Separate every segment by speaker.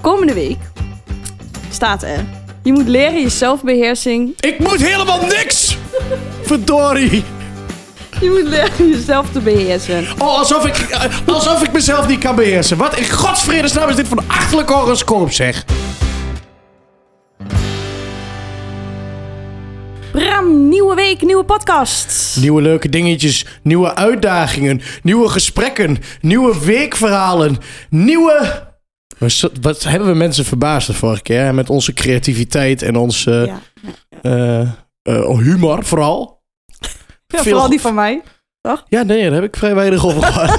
Speaker 1: Komende week staat er... Je moet leren je zelfbeheersing...
Speaker 2: Ik moet helemaal niks! Verdorie!
Speaker 1: Je moet leren jezelf te beheersen.
Speaker 2: Oh, alsof ik, eh, alsof ik mezelf niet kan beheersen. Wat in godsvredesnaam is dit voor een achterlijk horoscoop, zeg?
Speaker 1: Bram, nieuwe week, nieuwe podcast.
Speaker 2: Nieuwe leuke dingetjes, nieuwe uitdagingen, nieuwe gesprekken, nieuwe weekverhalen, nieuwe... Maar zo- Wat hebben we mensen verbaasd de vorige keer? hè? Met onze creativiteit en ons eh,
Speaker 1: ja.
Speaker 2: eh, eh, humor vooral.
Speaker 1: Ja,
Speaker 2: veel-
Speaker 1: vooral die van mij.
Speaker 2: Ja, nee, daar heb ik vrij weinig over gehad.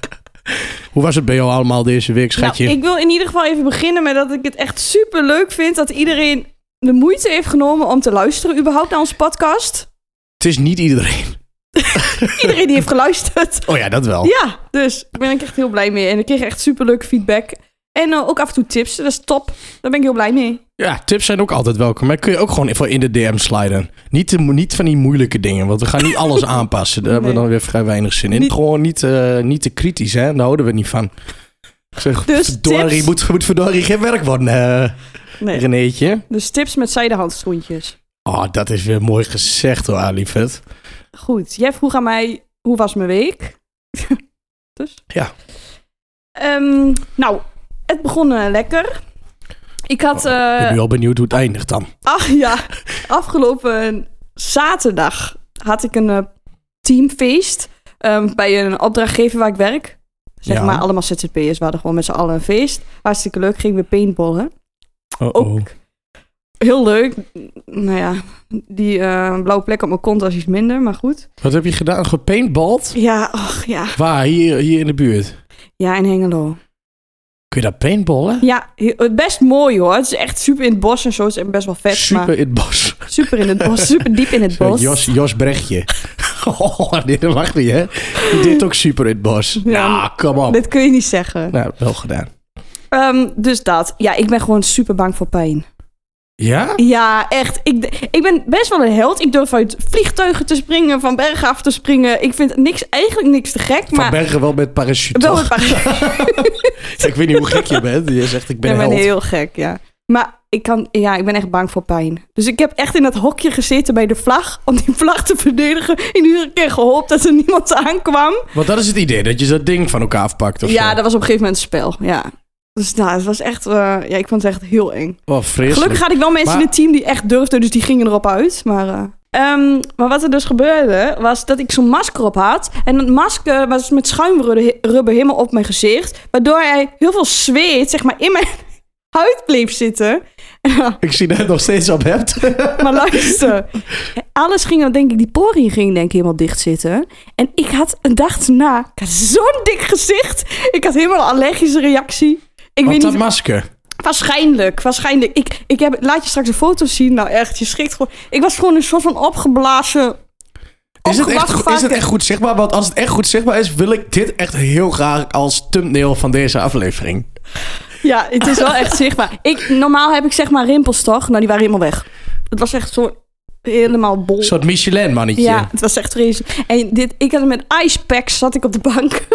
Speaker 2: Hoe was het bij jou allemaal deze week, schatje?
Speaker 1: Nou, ik wil in ieder geval even beginnen met dat ik het echt super leuk vind dat iedereen de moeite heeft genomen om te luisteren überhaupt naar onze podcast.
Speaker 2: Het is niet iedereen.
Speaker 1: Iedereen die heeft geluisterd.
Speaker 2: Oh ja, dat wel.
Speaker 1: Ja, dus daar ben ik echt heel blij mee. En ik kreeg echt super leuk feedback. En eh, ook af en toe tips, dat is top. Daar ben ik heel blij mee.
Speaker 2: Ja, tips zijn ook altijd welkom. Maar kun je ook gewoon even in de DM sliden. Niet, de, niet van die moeilijke dingen, want we gaan niet alles aanpassen. Daar hebben we
Speaker 1: Nee.
Speaker 2: dan weer vrij weinig zin in.
Speaker 1: Niet-
Speaker 2: Gewoon niet, eh, niet te kritisch, hè? Daar houden we niet van. Ik zeg,
Speaker 1: Dus
Speaker 2: verdorie,
Speaker 1: tips-
Speaker 2: moet, moet verdorie geen werk worden, eh
Speaker 1: Nee.
Speaker 2: Renéetje.
Speaker 1: Dus tips met zijdehandschoentjes.
Speaker 2: Oh, dat is weer mooi gezegd hoor, Alifet.
Speaker 1: Goed, jij vroeg aan mij, hoe was mijn week? dus?
Speaker 2: Ja.
Speaker 1: Ehm, nou, het begon eh, lekker. Ik had...
Speaker 2: Oh, Ik
Speaker 1: eh,
Speaker 2: ben nu al benieuwd hoe het eindigt dan.
Speaker 1: Ach ja, afgelopen zaterdag had ik een eh, teamfeest ehm, bij een opdrachtgever waar ik werk. Zeg
Speaker 2: Ja.
Speaker 1: maar, allemaal ZZP'ers. We hadden gewoon met z'n allen een feest. Hartstikke leuk, gingen we paintballen.
Speaker 2: Oh,
Speaker 1: Ook
Speaker 2: oh.
Speaker 1: heel leuk. Nou ja, die eh, blauwe plek op mijn kont was iets minder, maar goed.
Speaker 2: Wat heb je gedaan? Gepaintbald?
Speaker 1: Ja, ach ja.
Speaker 2: Waar? Hier, hier in de buurt?
Speaker 1: Ja, in Hengelo.
Speaker 2: Kun je dat paintballen?
Speaker 1: Ja, he- het best mooi hoor. Het is echt super in het bos en zo. Het is echt best wel vet,
Speaker 2: Super in het bos.
Speaker 1: maar super in het bos. Super diep in het
Speaker 2: Zo,
Speaker 1: bos.
Speaker 2: Eh, Jos, Jos Brechtje. Oh, dit mag niet, hè? Dit ook super in het bos.
Speaker 1: Ja.
Speaker 2: nou, kom op.
Speaker 1: Dit kun je niet zeggen.
Speaker 2: Nou, wel gedaan.
Speaker 1: Ehm, dus dat. Ja, ik ben gewoon super bang voor pijn.
Speaker 2: Ja?
Speaker 1: Ja, echt. Ik, d- ik ben best wel een held. Ik durf uit vliegtuigen te springen, van bergen af te springen. Ik vind niks, eigenlijk niks te gek,
Speaker 2: Van
Speaker 1: maar...
Speaker 2: Bergen wel met parachute,
Speaker 1: wel
Speaker 2: toch?
Speaker 1: een paar-
Speaker 2: Ik weet niet hoe gek je bent. Je zegt, ik ben
Speaker 1: ik
Speaker 2: een
Speaker 1: ben
Speaker 2: held.
Speaker 1: heel gek, ja. Maar ik, kan, ja, ik ben echt bang voor pijn. Dus ik heb echt in dat hokje gezeten bij de vlag... om die vlag te verdedigen. En iedere keer gehoopt dat er niemand aankwam.
Speaker 2: Want dat is het idee, dat je dat ding van elkaar afpakt of
Speaker 1: Ja,
Speaker 2: zo.
Speaker 1: dat was op een gegeven moment een spel, ja. Dus nou, het was echt... eh, ja, ik vond het echt heel eng.
Speaker 2: Oh, vreselijk.
Speaker 1: Gelukkig had ik wel mensen
Speaker 2: Maar-
Speaker 1: in het team die echt durfden, dus die gingen erop uit. Maar, eh, ehm, maar wat er dus gebeurde, was dat ik zo'n masker op had. En dat masker was met schuimrubber helemaal op mijn gezicht. Waardoor hij heel veel zweet, zeg maar, in mijn huid bleef zitten.
Speaker 2: Ik zie dat je het nog steeds op hebt.
Speaker 1: Maar luister, alles ging dan denk ik, die poriën gingen denk ik helemaal dicht zitten. En ik had een dag na, ik had zo'n dik gezicht. Ik had helemaal een allergische reactie. Ik
Speaker 2: Want
Speaker 1: weet
Speaker 2: dat
Speaker 1: niet
Speaker 2: masker.
Speaker 1: Waarschijnlijk, waarschijnlijk. Ik, ik heb, laat je straks een foto zien. Nou echt, je schrikt gewoon. Ik was gewoon een soort van opgeblazen...
Speaker 2: Is het,
Speaker 1: opgewacht
Speaker 2: echt, is het
Speaker 1: varken.
Speaker 2: echt goed zichtbaar? Want als het echt goed zichtbaar is, wil ik dit echt heel graag als thumbnail van deze aflevering.
Speaker 1: Ja, het is wel echt zichtbaar. Ik, normaal heb ik zeg maar rimpels toch? Nou, die waren helemaal weg. Het was echt zo helemaal bol.
Speaker 2: Een soort Michelin-mannetje.
Speaker 1: ja, het was echt vreselijk. En dit, ik had met icepacks zat ik op de bank.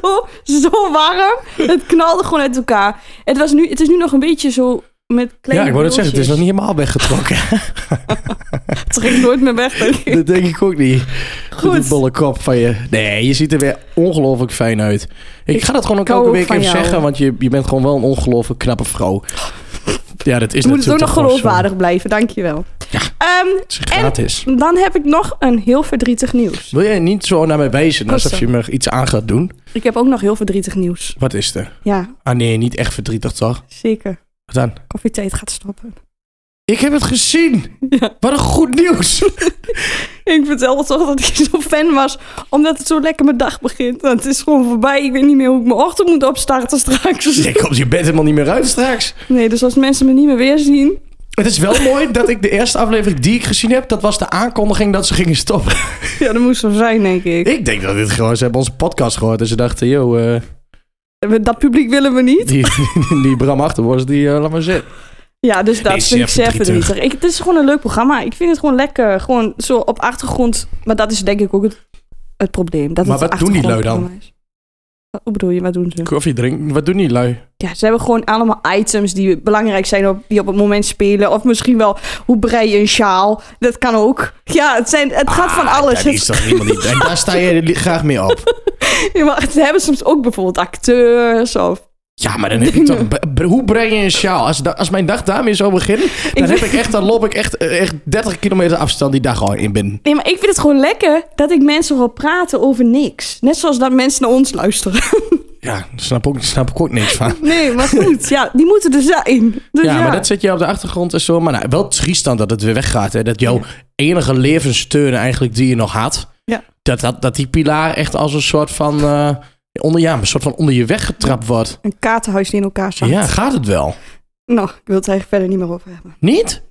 Speaker 1: zo, zo warm. Het knalde gewoon uit elkaar. Het, was nu, het is nu nog een beetje zo met kleine
Speaker 2: Ja, ik wou het zeggen, het is nog niet helemaal weggetrokken.
Speaker 1: Het trekt nooit meer weg, denk ik.
Speaker 2: Dat denk ik ook niet.
Speaker 1: Goed.
Speaker 2: Die bolle kop van je. Nee, je ziet er weer ongelooflijk fijn uit. Ik, ga dat gewoon ook
Speaker 1: hou
Speaker 2: elke
Speaker 1: ook
Speaker 2: week
Speaker 1: van
Speaker 2: even
Speaker 1: jou.
Speaker 2: zeggen, want je, je bent gewoon wel een ongelooflijk knappe vrouw. Ja, dat is
Speaker 1: Je moet het ook
Speaker 2: natuurlijk
Speaker 1: nog
Speaker 2: gewoon zo.
Speaker 1: geloofwaardig blijven, dankjewel. Ehm,
Speaker 2: Het is gratis.
Speaker 1: Dan heb ik nog een heel verdrietig nieuws.
Speaker 2: Wil jij niet zo naar mij wijzen
Speaker 1: Kost
Speaker 2: alsof je me iets aan gaat doen?
Speaker 1: Ik heb ook nog heel verdrietig nieuws.
Speaker 2: Wat is er?
Speaker 1: Ja,
Speaker 2: Ah nee, niet echt verdrietig toch?
Speaker 1: zeker.
Speaker 2: Wat dan?
Speaker 1: Koffietijd gaat stoppen.
Speaker 2: Ik heb het gezien! Wat een goed nieuws!
Speaker 1: Ik vertelde toch dat ik zo fan was, omdat het zo lekker mijn dag begint. Want het is gewoon voorbij. Ik weet niet meer hoe ik mijn ochtend moet opstarten straks.
Speaker 2: Ik kom je bed helemaal niet meer uit straks.
Speaker 1: Nee, dus als mensen me niet meer weer zien.
Speaker 2: Het is wel mooi dat ik de eerste aflevering die ik gezien heb, dat was de aankondiging dat ze gingen stoppen.
Speaker 1: Ja, dat moest zo zijn, denk ik.
Speaker 2: Ik denk dat dit gewoon, ze hebben onze podcast gehoord en ze dachten, yo, eh,
Speaker 1: Dat publiek willen we niet.
Speaker 2: die, die, die Bram Achterbos, die eh, laat maar zitten.
Speaker 1: Ja, dus dat
Speaker 2: Nee,
Speaker 1: vind ik zeer
Speaker 2: zeer verdrietig.
Speaker 1: verdrietig. Ik, het is gewoon een leuk programma. Ik vind het gewoon lekker. Gewoon zo op achtergrond. Maar dat is denk ik ook het, het probleem. Dat
Speaker 2: Maar
Speaker 1: het
Speaker 2: wat doen die lui dan?
Speaker 1: achtergrondprogramma is. Wat bedoel je, wat doen ze?
Speaker 2: Koffie drinken, wat doen die lui?
Speaker 1: Ja, ze hebben gewoon allemaal items die belangrijk zijn op, die op het moment spelen. Of misschien wel, hoe brei je een sjaal? Dat kan ook. Ja, het, zijn, het gaat van alles.
Speaker 2: Dat Ah, is toch niemand niet. En daar sta je li- graag mee op.
Speaker 1: Ja, maar ze hebben soms ook bijvoorbeeld acteurs of...
Speaker 2: Ja, maar dan heb je toch... b- b- Hoe breng je een sjaal? Als, da- als mijn dag daarmee zou beginnen, dan, heb ik echt, dan loop ik echt, eh, echt 30 kilometer afstand die dag al in binnen.
Speaker 1: Nee, maar ik vind het gewoon lekker dat ik mensen hoor praten over niks. Net zoals dat mensen naar ons luisteren.
Speaker 2: Ja, daar snap, ook- daar snap ik ook niks van.
Speaker 1: Nee, maar goed. Ja, die moeten er zijn. Dus
Speaker 2: ja, maar dat zit je op de achtergrond en zo. Maar nou, wel triest dan dat het weer weggaat. Hè? Dat jouw enige levenssteun eigenlijk die je nog had...
Speaker 1: Ja.
Speaker 2: Dat, dat, dat die pilaar echt als een soort van... eh, onder, ja, een soort van onder je weg getrapt wordt.
Speaker 1: Een kaartenhuis die in elkaar zat.
Speaker 2: Ja, gaat het wel?
Speaker 1: Nou, ik wil het eigenlijk verder niet meer over hebben.
Speaker 2: Niet?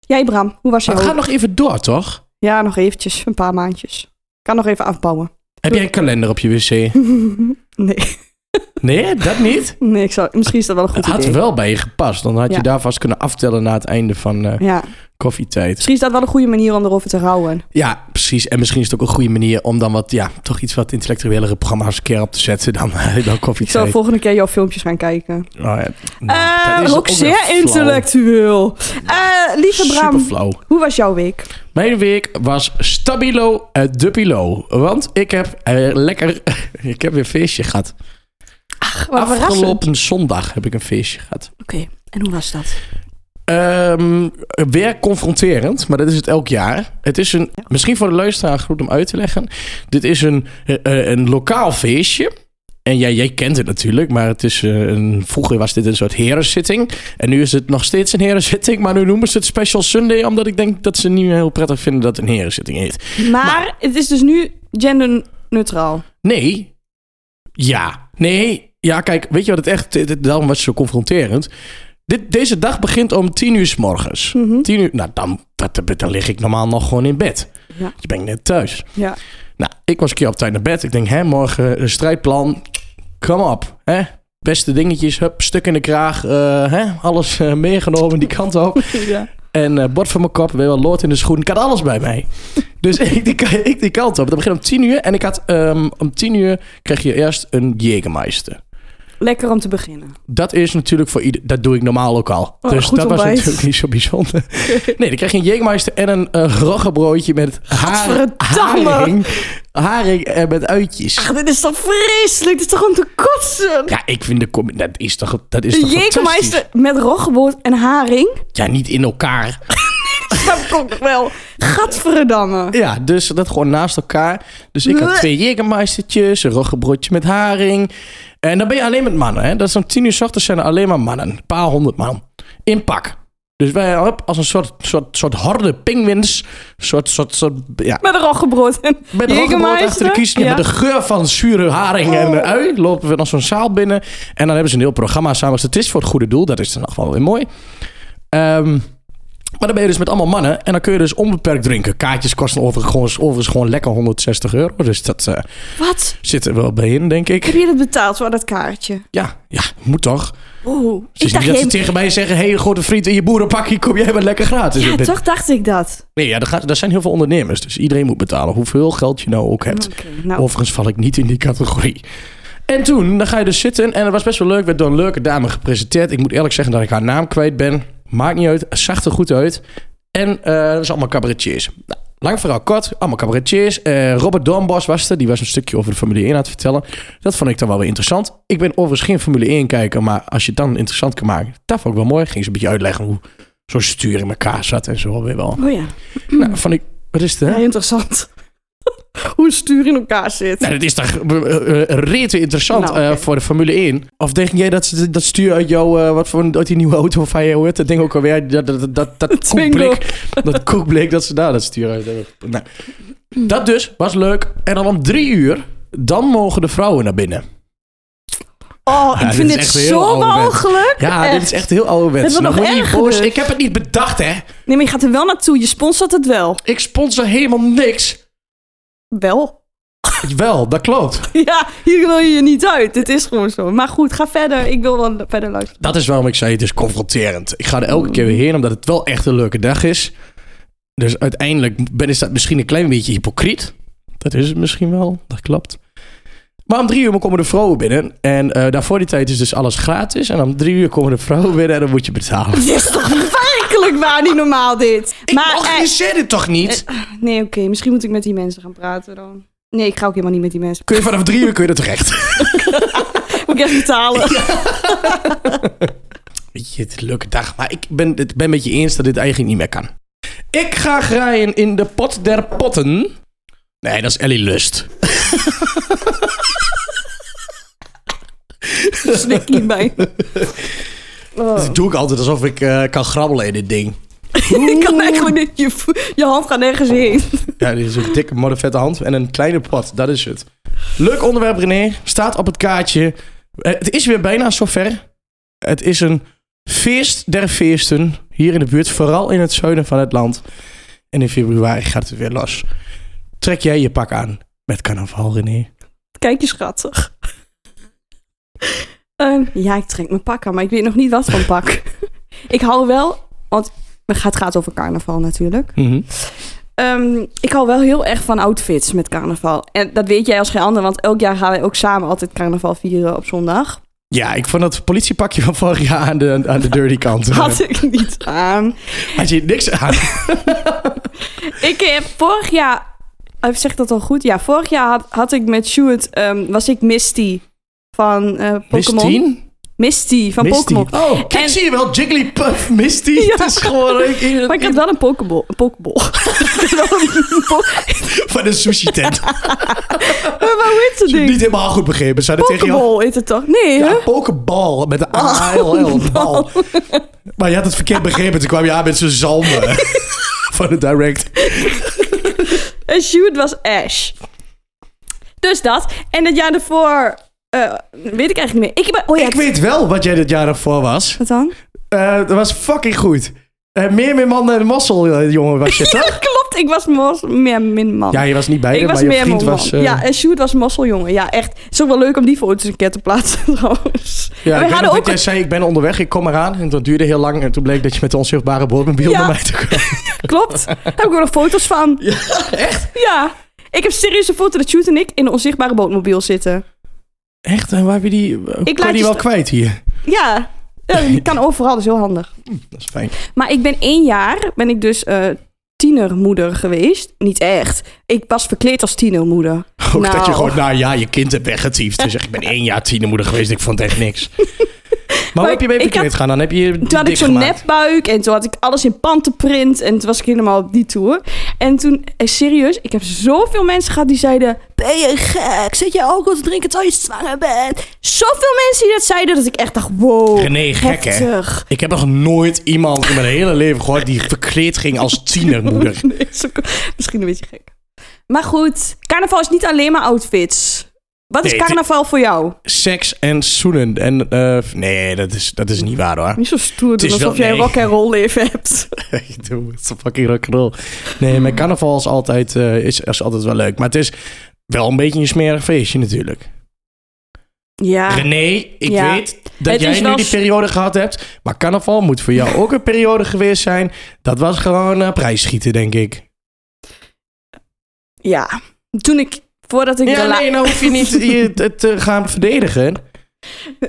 Speaker 1: Jij, Bram, hoe was
Speaker 2: Maar
Speaker 1: jouw...
Speaker 2: het gaat nog even door, toch?
Speaker 1: Ja, nog eventjes. Een paar maandjes. Kan nog even afbouwen.
Speaker 2: Heb jij een kalender op je wc?
Speaker 1: nee,
Speaker 2: Nee, dat niet?
Speaker 1: nee ik zou, misschien is dat wel een goed
Speaker 2: Het had
Speaker 1: idee.
Speaker 2: wel bij je gepast. Dan had
Speaker 1: Ja.
Speaker 2: je daar vast kunnen aftellen na het einde van eh,
Speaker 1: Ja,
Speaker 2: koffietijd.
Speaker 1: misschien is dat wel een goede manier om erover te rouwen.
Speaker 2: Ja, precies. En misschien is het ook een goede manier om dan wat... Ja, toch iets wat intellectuelere programma's een keer op te zetten dan, eh, dan
Speaker 1: Ik zal
Speaker 2: koffietijd.
Speaker 1: volgende keer jouw filmpjes gaan kijken.
Speaker 2: Oh, ja.
Speaker 1: Eh,
Speaker 2: Nou, dat is
Speaker 1: ook
Speaker 2: weer
Speaker 1: zeer
Speaker 2: flauw.
Speaker 1: intellectueel. Eh, lieve Bram,
Speaker 2: Super flauw.
Speaker 1: hoe was jouw week?
Speaker 2: Mijn week was stabilo eh, de pilo. Want ik heb eh, lekker... ik heb weer een feestje gehad.
Speaker 1: Wat verrassend.
Speaker 2: Afgelopen zondag heb ik een feestje gehad.
Speaker 1: Oké, en hoe was dat?
Speaker 2: Ehm, weer confronterend, maar dat is het elk jaar. Het is een, misschien voor de luisteraar goed om uit te leggen. Dit is een, eh, eh, een lokaal feestje. En jij, jij kent het natuurlijk, maar het is eh, een, vroeger was dit een soort herenzitting. En nu is het nog steeds een herenzitting, maar nu noemen ze het Special Sunday... omdat ik denk dat ze niet meer heel prettig vinden dat het een herenzitting heet.
Speaker 1: Maar, het is dus nu genderneutraal.
Speaker 2: Nee. Ja. Nee. Ja, kijk, weet je wat het echt... dit- dit- daarom was het zo confronterend. Dit, deze dag begint om tien uur s morgens.
Speaker 1: Mhm.
Speaker 2: Tien uur, nou dan, dat, dan lig ik normaal nog gewoon in bed.
Speaker 1: Ja.
Speaker 2: Je bent net thuis.
Speaker 1: Ja.
Speaker 2: Nou, ik was een keer op tijd naar bed. Ik denk, hè, morgen een strijdplan. Kom op, hè. Beste dingetjes, hup, stuk in de kraag. eh, hè, alles eh, meegenomen die kant op.
Speaker 1: ja.
Speaker 2: En eh, bord van mijn kop, weer wel lood in de schoen. Ik had alles bij mij. Dus ik die, ik die kant op. Dat begint om tien uur. En ik had, ehm, om tien uur kreeg je eerst een Jägermeister.
Speaker 1: Lekker om te beginnen.
Speaker 2: Dat is natuurlijk voor ieder... Dat doe ik normaal ook al.
Speaker 1: Oh,
Speaker 2: dus
Speaker 1: goed
Speaker 2: dat was
Speaker 1: ontbijt.
Speaker 2: natuurlijk niet zo bijzonder. Nee, dan krijg je een Jägermeister en een eh roggebroodje met haar,
Speaker 1: Gadverdamme.
Speaker 2: haring. Haring en met uitjes.
Speaker 1: Ach, dit is toch vreselijk? Dit is toch om te kotsen?
Speaker 2: Ja, ik vind de... combi- Dat is toch, dat is
Speaker 1: De
Speaker 2: toch fantastisch?
Speaker 1: Jekermeister met roggebrood en haring?
Speaker 2: Ja, niet in elkaar.
Speaker 1: Dat komt wel. Gadverdamme.
Speaker 2: Ja, dus dat gewoon naast elkaar. Dus ik had
Speaker 1: Bleh.
Speaker 2: twee Jägermeistertjes, een roggebroodje met haring. En dan ben je alleen met mannen. Hè? Dat is om tien uur 's ochtends zijn er alleen maar mannen. Een paar honderd man. In pak. Dus wij hop, als een soort, soort, soort horde pinguïns. Soort, soort, soort, ja,
Speaker 1: Met roggebrood en
Speaker 2: Met roggebrood achter de kiezen.
Speaker 1: Ja. Oh.
Speaker 2: Met de geur van zure haring en eh, ui lopen we dan zo'n zaal binnen. En dan hebben ze een heel programma samen. Dus het is voor het goede doel. Dat is dan nog wel weer mooi. Ehm, maar dan ben je dus met allemaal mannen. En dan kun je dus onbeperkt drinken. Kaartjes kosten overigens gewoon, overigens gewoon lekker 160 euro. Dus dat eh,
Speaker 1: Wat?
Speaker 2: zit er wel bij in, denk
Speaker 1: Heb
Speaker 2: ik.
Speaker 1: je dat betaald voor dat kaartje?
Speaker 2: Ja, ja moet toch.
Speaker 1: Oeh.
Speaker 2: Het is
Speaker 1: Ik
Speaker 2: niet
Speaker 1: dacht,
Speaker 2: dat ze
Speaker 1: jij...
Speaker 2: tegen mij zeggen... Hé, hey, grote vriend, in je boerenpakje kom jij maar lekker gratis.
Speaker 1: Ja,
Speaker 2: op dit."
Speaker 1: toch dacht ik dat.
Speaker 2: Nee, ja, er, gaat, er zijn heel veel ondernemers. Dus iedereen moet betalen. Hoeveel geld je nou ook hebt.
Speaker 1: Oké, nou.
Speaker 2: Overigens val ik niet in die categorie. En toen, dan ga je dus zitten. En het was best wel leuk. Werd door een leuke dame gepresenteerd. Ik moet eerlijk zeggen dat ik haar naam kwijt ben. Maakt niet uit. Zag er goed uit. En eh dat is allemaal cabaretiers. Nou, lang verhaal kort. Allemaal cabaretiers. Eh, Robert Dornbos was er. Die was een stukje over de Formule 1 aan het vertellen. Dat vond ik dan wel weer interessant. Ik ben overigens geen Formule 1 kijker. Maar als je het dan interessant kan maken. Dat vond ik wel mooi. Ging ze een beetje uitleggen hoe zo'n stuur in elkaar zat. En zo weer wel.
Speaker 1: Oh ja.
Speaker 2: Nou, vond ik... Wat is het, hè?
Speaker 1: Ja, interessant. Hoe het stuur in elkaar zit.
Speaker 2: Nou, dat is toch eh, eh, rete interessant
Speaker 1: Nou, oké.
Speaker 2: eh, voor de Formule 1. Of denk jij dat ze dat stuur uit jouw, eh, wat voor, uit die nieuwe auto van je hoort? Dat ding ook alweer, dat, dat, dat, dat
Speaker 1: Twingo.
Speaker 2: koekblik, dat koekblik, dat ze daar dat stuur uit hebben. Nou, dat dus, was leuk. En dan om drie uur, dan mogen de vrouwen naar binnen.
Speaker 1: Oh,
Speaker 2: Ja,
Speaker 1: ik
Speaker 2: dit
Speaker 1: vind
Speaker 2: is
Speaker 1: dit,
Speaker 2: echt heel
Speaker 1: zo Eh,
Speaker 2: ouderwets.
Speaker 1: mogelijk.
Speaker 2: Ja, dit is echt heel
Speaker 1: Het
Speaker 2: ouderwets.
Speaker 1: wordt nog
Speaker 2: Nou, word je niet
Speaker 1: erger
Speaker 2: boos.
Speaker 1: dus.
Speaker 2: Ik heb het niet bedacht, hè.
Speaker 1: Nee, maar je gaat er wel naartoe. Je sponsort het wel.
Speaker 2: Ik sponsor helemaal niks.
Speaker 1: Wel.
Speaker 2: Wel, dat klopt.
Speaker 1: Ja, hier wil je je niet uit. Dit is gewoon zo. Maar goed, ga verder. Ik wil wel verder luisteren.
Speaker 2: Dat is waarom ik zei, het is confronterend. Ik ga er elke keer weer heen, omdat het wel echt een leuke dag is. Dus uiteindelijk ben, is dat misschien een klein beetje hypocriet. Dat is het misschien wel, dat klopt. Maar om drie uur komen de vrouwen binnen. En eh, daarvoor die tijd is dus alles gratis. En om drie uur komen de vrouwen binnen en dan moet je betalen.
Speaker 1: Dit is toch werkelijk waar niet normaal dit. maar eh,
Speaker 2: organiseer dit toch niet?
Speaker 1: nee, oké, misschien moet ik met die mensen gaan praten dan. Nee, ik ga ook helemaal niet met die mensen.
Speaker 2: Kun je vanaf drie uur kun je er terecht.
Speaker 1: Moet ik echt betalen?
Speaker 2: Weet je, het is een leuke dag. Maar ik ben het ben met je eens dat dit eigenlijk niet meer kan. Ik ga graaien in de pot der potten. Nee, dat is Ellie Lust.
Speaker 1: Daar snik ik niet bij. Oh.
Speaker 2: Dat doe ik altijd alsof ik eh, kan grabbelen in dit ding.
Speaker 1: Ik kan eigenlijk niet. Oh. Je, vo- je hand gaat nergens heen.
Speaker 2: Ja, dit is een dikke, modder vette hand en een kleine pot. Dat is het. Leuk onderwerp, René. Staat op het kaartje. Eh, Het is weer bijna zover. Het is een feest der feesten hier in de buurt. Vooral in het zuiden van het land. En in februari gaat het weer los. Trek jij je pak aan met carnaval, René?
Speaker 1: Kijk je schattig. Ehm, ja, ik trek mijn pak aan, maar ik weet nog niet wat van pak. ik hou wel, want het gaat- het gaat over carnaval natuurlijk. Ehm, ik hou wel heel erg van outfits met carnaval. En dat weet jij als geen ander, want elk jaar gaan wij ook samen altijd carnaval vieren op zondag.
Speaker 2: Ja, ik vond dat politiepakje van vorig jaar aan de, aan de dirty kant.
Speaker 1: Had ik niet aan.
Speaker 2: Had je niks aan?
Speaker 1: Ik heb vorig jaar, ik zeg dat al goed, ja, vorig jaar had, had ik met Sjoerd, ehm, was ik Misty van eh Pokémon.
Speaker 2: Mistien?
Speaker 1: Misty van
Speaker 2: Misty.
Speaker 1: Pokémon.
Speaker 2: Oh, kijk,
Speaker 1: En-
Speaker 2: zie je wel? Jigglypuff, Misty. Het is gewoon... Ik, ik-
Speaker 1: Maar ik had wel een pokeball. Een pokeball. Ik had wel een po-
Speaker 2: Van een sushi tent.
Speaker 1: maar hoe heet dat
Speaker 2: Niet
Speaker 1: ding?
Speaker 2: helemaal goed begrepen. Ze hadden tegen jou...
Speaker 1: Pokeball heet het toch? Nee, hè? Oh,
Speaker 2: Ja, pokeball met de A-L-L, bal. Maar je had het verkeerd begrepen. Toen kwam je aan met zo'n zalmen van de direct.
Speaker 1: En Sjoerd was Ash. Dus dat. En het jaar daarvoor... eh, weet ik eigenlijk niet meer. Ik heb... Oh ja,
Speaker 2: Ik weet wel wat jij dit jaar ervoor was.
Speaker 1: Wat dan?
Speaker 2: Eh, dat was fucking goed. Eh, meer meer man en mossel, eh, jongen, was je toch?
Speaker 1: Klopt, ik was mos, meer min man.
Speaker 2: Ja, je was niet bij,
Speaker 1: ik
Speaker 2: maar
Speaker 1: was
Speaker 2: je
Speaker 1: meer
Speaker 2: vriend
Speaker 1: man.
Speaker 2: was... eh,
Speaker 1: Ja, en Sjoerd was mosseljongen. Ja, echt. Het is ook wel leuk om die foto's een keer te plaatsen trouwens. En
Speaker 2: Ja, ik
Speaker 1: we
Speaker 2: weet
Speaker 1: hadden
Speaker 2: nog
Speaker 1: ook
Speaker 2: dat jij zei, ik ben onderweg, ik kom eraan. En dat duurde heel lang. En toen bleek dat je met de onzichtbare boordmobiel
Speaker 1: Ja.
Speaker 2: naar mij toe kwam.
Speaker 1: Klopt. Daar heb ik ook nog foto's van. Ja, echt? Ja. Ik heb serieus een foto dat Sjoerd en ik in een onzichtbare bootmobiel zitten.
Speaker 2: Echt? En waar heb je die... Ik
Speaker 1: laat
Speaker 2: kan die
Speaker 1: je
Speaker 2: wel
Speaker 1: sta-
Speaker 2: kwijt hier.
Speaker 1: Ja. Ja, die kan overal, dat is heel handig.
Speaker 2: Dat is fijn.
Speaker 1: Maar ik ben één jaar, ben ik dus eh, tienermoeder geweest. Niet echt. Ik was verkleed als tienermoeder.
Speaker 2: Ook dat je
Speaker 1: Nou.
Speaker 2: gewoon, nou ja, je kind hebt weggetiefd. Dus ik ben één jaar tienermoeder geweest ik vond echt niks. Maar, hoe heb je mee
Speaker 1: ik
Speaker 2: verkleed
Speaker 1: had-
Speaker 2: gaan? Dan heb je je
Speaker 1: Toen had ik
Speaker 2: dik
Speaker 1: zo'n
Speaker 2: gemaakt.
Speaker 1: nepbuik en toen had ik alles in pantenprint. En toen was ik helemaal op die tour. En toen, eh, serieus, ik heb zoveel mensen gehad die zeiden... Ben je gek? Zit je alcohol te drinken terwijl je zwanger bent? Zoveel mensen die dat zeiden dat ik echt dacht... Wow,
Speaker 2: René, gek, hè?
Speaker 1: heftig.
Speaker 2: Ik heb nog nooit iemand in mijn hele leven gehoord die verkleed ging als tienermoeder.
Speaker 1: Nee, is ook- misschien een beetje gek. Maar goed, carnaval is niet alleen maar outfits. Wat is
Speaker 2: Nee, het-
Speaker 1: carnaval voor jou?
Speaker 2: Seks en zoenen. En, eh, nee, dat is, dat is niet waar hoor.
Speaker 1: Niet zo stoer doen
Speaker 2: is wel-
Speaker 1: alsof jij een
Speaker 2: nee.
Speaker 1: rock and roll leven hebt.
Speaker 2: Ik doe het zo fucking rock'n'roll. Nee, mijn carnaval is altijd, eh, is, is altijd wel leuk. Maar het is wel een beetje een smerig feestje natuurlijk.
Speaker 1: Ja,
Speaker 2: René, ik
Speaker 1: Ja.
Speaker 2: weet dat
Speaker 1: Het
Speaker 2: jij
Speaker 1: is
Speaker 2: nu
Speaker 1: wel
Speaker 2: die
Speaker 1: s-
Speaker 2: periode gehad hebt. Maar carnaval moet voor jou ook een periode geweest zijn. Dat was gewoon eh, prijsschieten, denk ik.
Speaker 1: ja. Toen ik, voordat ik
Speaker 2: Ja,
Speaker 1: de la-
Speaker 2: nee, nou hoef je niet je, het te gaan verdedigen.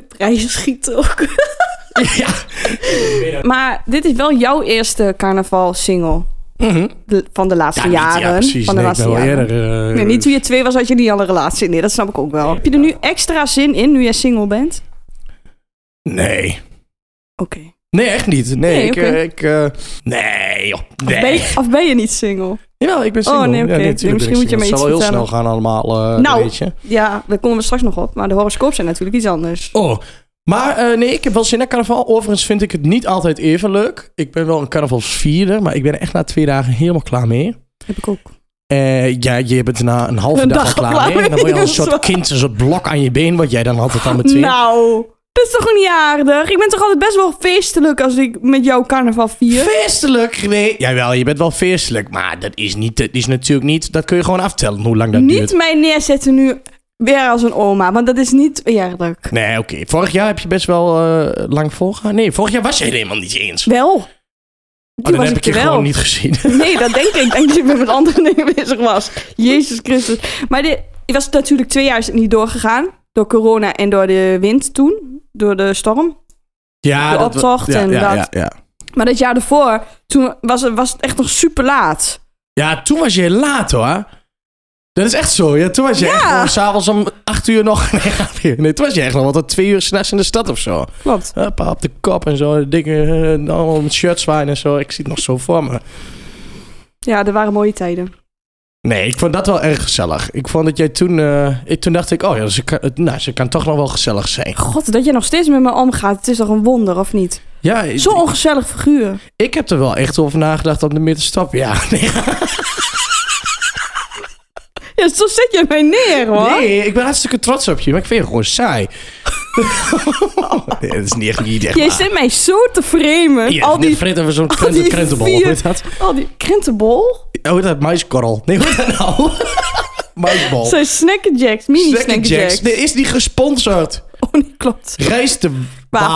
Speaker 1: prijzen schiet ook.
Speaker 2: ja.
Speaker 1: Maar dit is wel jouw eerste carnaval single
Speaker 2: Mhm.
Speaker 1: van de laatste
Speaker 2: Ja, niet-
Speaker 1: jaren.
Speaker 2: ja, precies.
Speaker 1: Van de
Speaker 2: Nee, ik
Speaker 1: laatste
Speaker 2: ben wel
Speaker 1: jaren.
Speaker 2: eerder... eh,
Speaker 1: Nee, niet toen je twee was had je niet al een relatie. Nee, dat snap ik ook wel. Heb je er nu extra zin in nu jij single bent?
Speaker 2: Nee.
Speaker 1: Oké.
Speaker 2: Nee, echt niet. Nee,
Speaker 1: Nee,
Speaker 2: ik...
Speaker 1: oké.
Speaker 2: eh, ik eh, nee, joh. Nee.
Speaker 1: Ben je- Of ben je niet single?
Speaker 2: Jawel, ik ben single.
Speaker 1: Oh, nee, oké.
Speaker 2: ja,
Speaker 1: Nee,
Speaker 2: natuurlijk ben
Speaker 1: misschien
Speaker 2: ik
Speaker 1: moet je
Speaker 2: single.
Speaker 1: me
Speaker 2: Het
Speaker 1: iets
Speaker 2: zal wel heel snel
Speaker 1: vertellen.
Speaker 2: gaan allemaal, eh
Speaker 1: Nou.
Speaker 2: weet je.
Speaker 1: Ja, daar komen we straks nog op. Maar de horoscoop zijn natuurlijk iets anders.
Speaker 2: Oh, maar eh, nee, ik heb wel zin in carnaval. Overigens vind ik het niet altijd even leuk. Ik ben wel een carnavalsvierder, maar ik ben er echt na twee dagen helemaal klaar mee.
Speaker 1: Heb ik ook.
Speaker 2: Eh, ja, je bent er na een halve
Speaker 1: Een
Speaker 2: dag,
Speaker 1: dag
Speaker 2: al klaar
Speaker 1: klaar
Speaker 2: mee. En dan
Speaker 1: mee,
Speaker 2: word je al een
Speaker 1: dat is
Speaker 2: soort
Speaker 1: waar.
Speaker 2: kind, een soort blok aan je been, wat jij dan altijd al meteen...
Speaker 1: Nou, dat is toch niet aardig? Ik ben toch altijd best wel feestelijk als ik met jou carnaval vier?
Speaker 2: Feestelijk, nee. Jawel, je bent wel feestelijk, maar dat is, niet, dat is natuurlijk niet... Dat kun je gewoon aftellen, hoe lang dat duurt.
Speaker 1: Niet mij neerzetten nu weer als een oma, want dat is niet eerlijk.
Speaker 2: Nee, oké. Vorig jaar heb je best wel eh, lang volgehouden. Nee, vorig jaar was je helemaal niet eens.
Speaker 1: Wel.
Speaker 2: Maar
Speaker 1: Die
Speaker 2: Oh, dan
Speaker 1: was
Speaker 2: heb ik je
Speaker 1: er Oh, wel.
Speaker 2: gewoon niet gezien.
Speaker 1: Nee, dat denk ik. Ik denk dat je met andere dingen bezig was. Jezus Christus. Maar dit, Ik was natuurlijk twee jaar is het niet doorgegaan. Door corona en door de wind toen. Door de storm.
Speaker 2: Ja,
Speaker 1: de
Speaker 2: dat wa-
Speaker 1: optocht
Speaker 2: ja,
Speaker 1: en
Speaker 2: ja,
Speaker 1: dat.
Speaker 2: Ja, ja.
Speaker 1: Maar dat jaar ervoor, toen was het, was het echt nog super laat.
Speaker 2: Ja, toen was je laat hoor. Dat is echt zo. Ja, toen was je
Speaker 1: Ja.
Speaker 2: echt gewoon s'avonds om acht uur nog. Nee, grapje. nee, toen was je echt nog wat tot twee uur s'nachts in de stad of zo.
Speaker 1: Klopt.
Speaker 2: Huppa, op de kop en zo. Dikke, eh, allemaal met shirts zwaaien en zo. Ik zie het nog zo voor me.
Speaker 1: Ja, er waren mooie tijden.
Speaker 2: Nee, ik vond dat wel erg gezellig. Ik vond dat jij toen... eh, ik, toen dacht ik, oh ja, ze kan, het- nou, ze kan toch nog wel gezellig zijn.
Speaker 1: God, dat je nog steeds met me omgaat, het is toch een wonder, of niet?
Speaker 2: Ja,
Speaker 1: Zo'n ongezellig figuur.
Speaker 2: Ik heb er wel echt over nagedacht om ermee te stappen. Ja, nee,
Speaker 1: Ja, zo zet je mij neer, hoor.
Speaker 2: nee, ik ben hartstikke trots op je, maar ik vind je gewoon saai. nee, dat is niet echt, niet echt
Speaker 1: Jij
Speaker 2: waar.
Speaker 1: zit mij zo te framen.
Speaker 2: Hier,
Speaker 1: al, die,
Speaker 2: Frit even zo'n
Speaker 1: al die
Speaker 2: krenten, krentenbol.
Speaker 1: vier-
Speaker 2: Hoe heet dat?
Speaker 1: al die krentenbol.
Speaker 2: Oh, hoe heet dat? Maiskorrel. Nee, hoe heet dat nou? Maisbol.
Speaker 1: Zijn snackerjacks, mini
Speaker 2: Snack and
Speaker 1: snackerjacks.
Speaker 2: Nee, is die gesponsord?
Speaker 1: Oh, nee, klopt.
Speaker 2: Rijst de wafeltjes.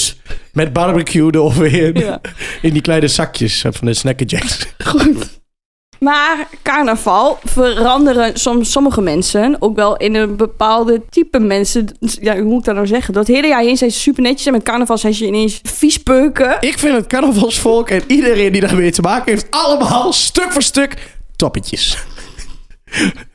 Speaker 1: Wafeltjes.
Speaker 2: Met barbecue eroverheen.
Speaker 1: Ja.
Speaker 2: In die kleine zakjes van de Snack and Jacks.
Speaker 1: Goed. Maar carnaval veranderen som, sommige mensen ook wel in een bepaalde type mensen. Ja, hoe moet ik dat nou zeggen? Dat hele jaar heen zijn ze super netjes en met carnaval zijn ze ineens vies peuken.
Speaker 2: Ik vind het carnavalsvolk en iedereen die daarmee te maken heeft... allemaal stuk voor stuk toppetjes.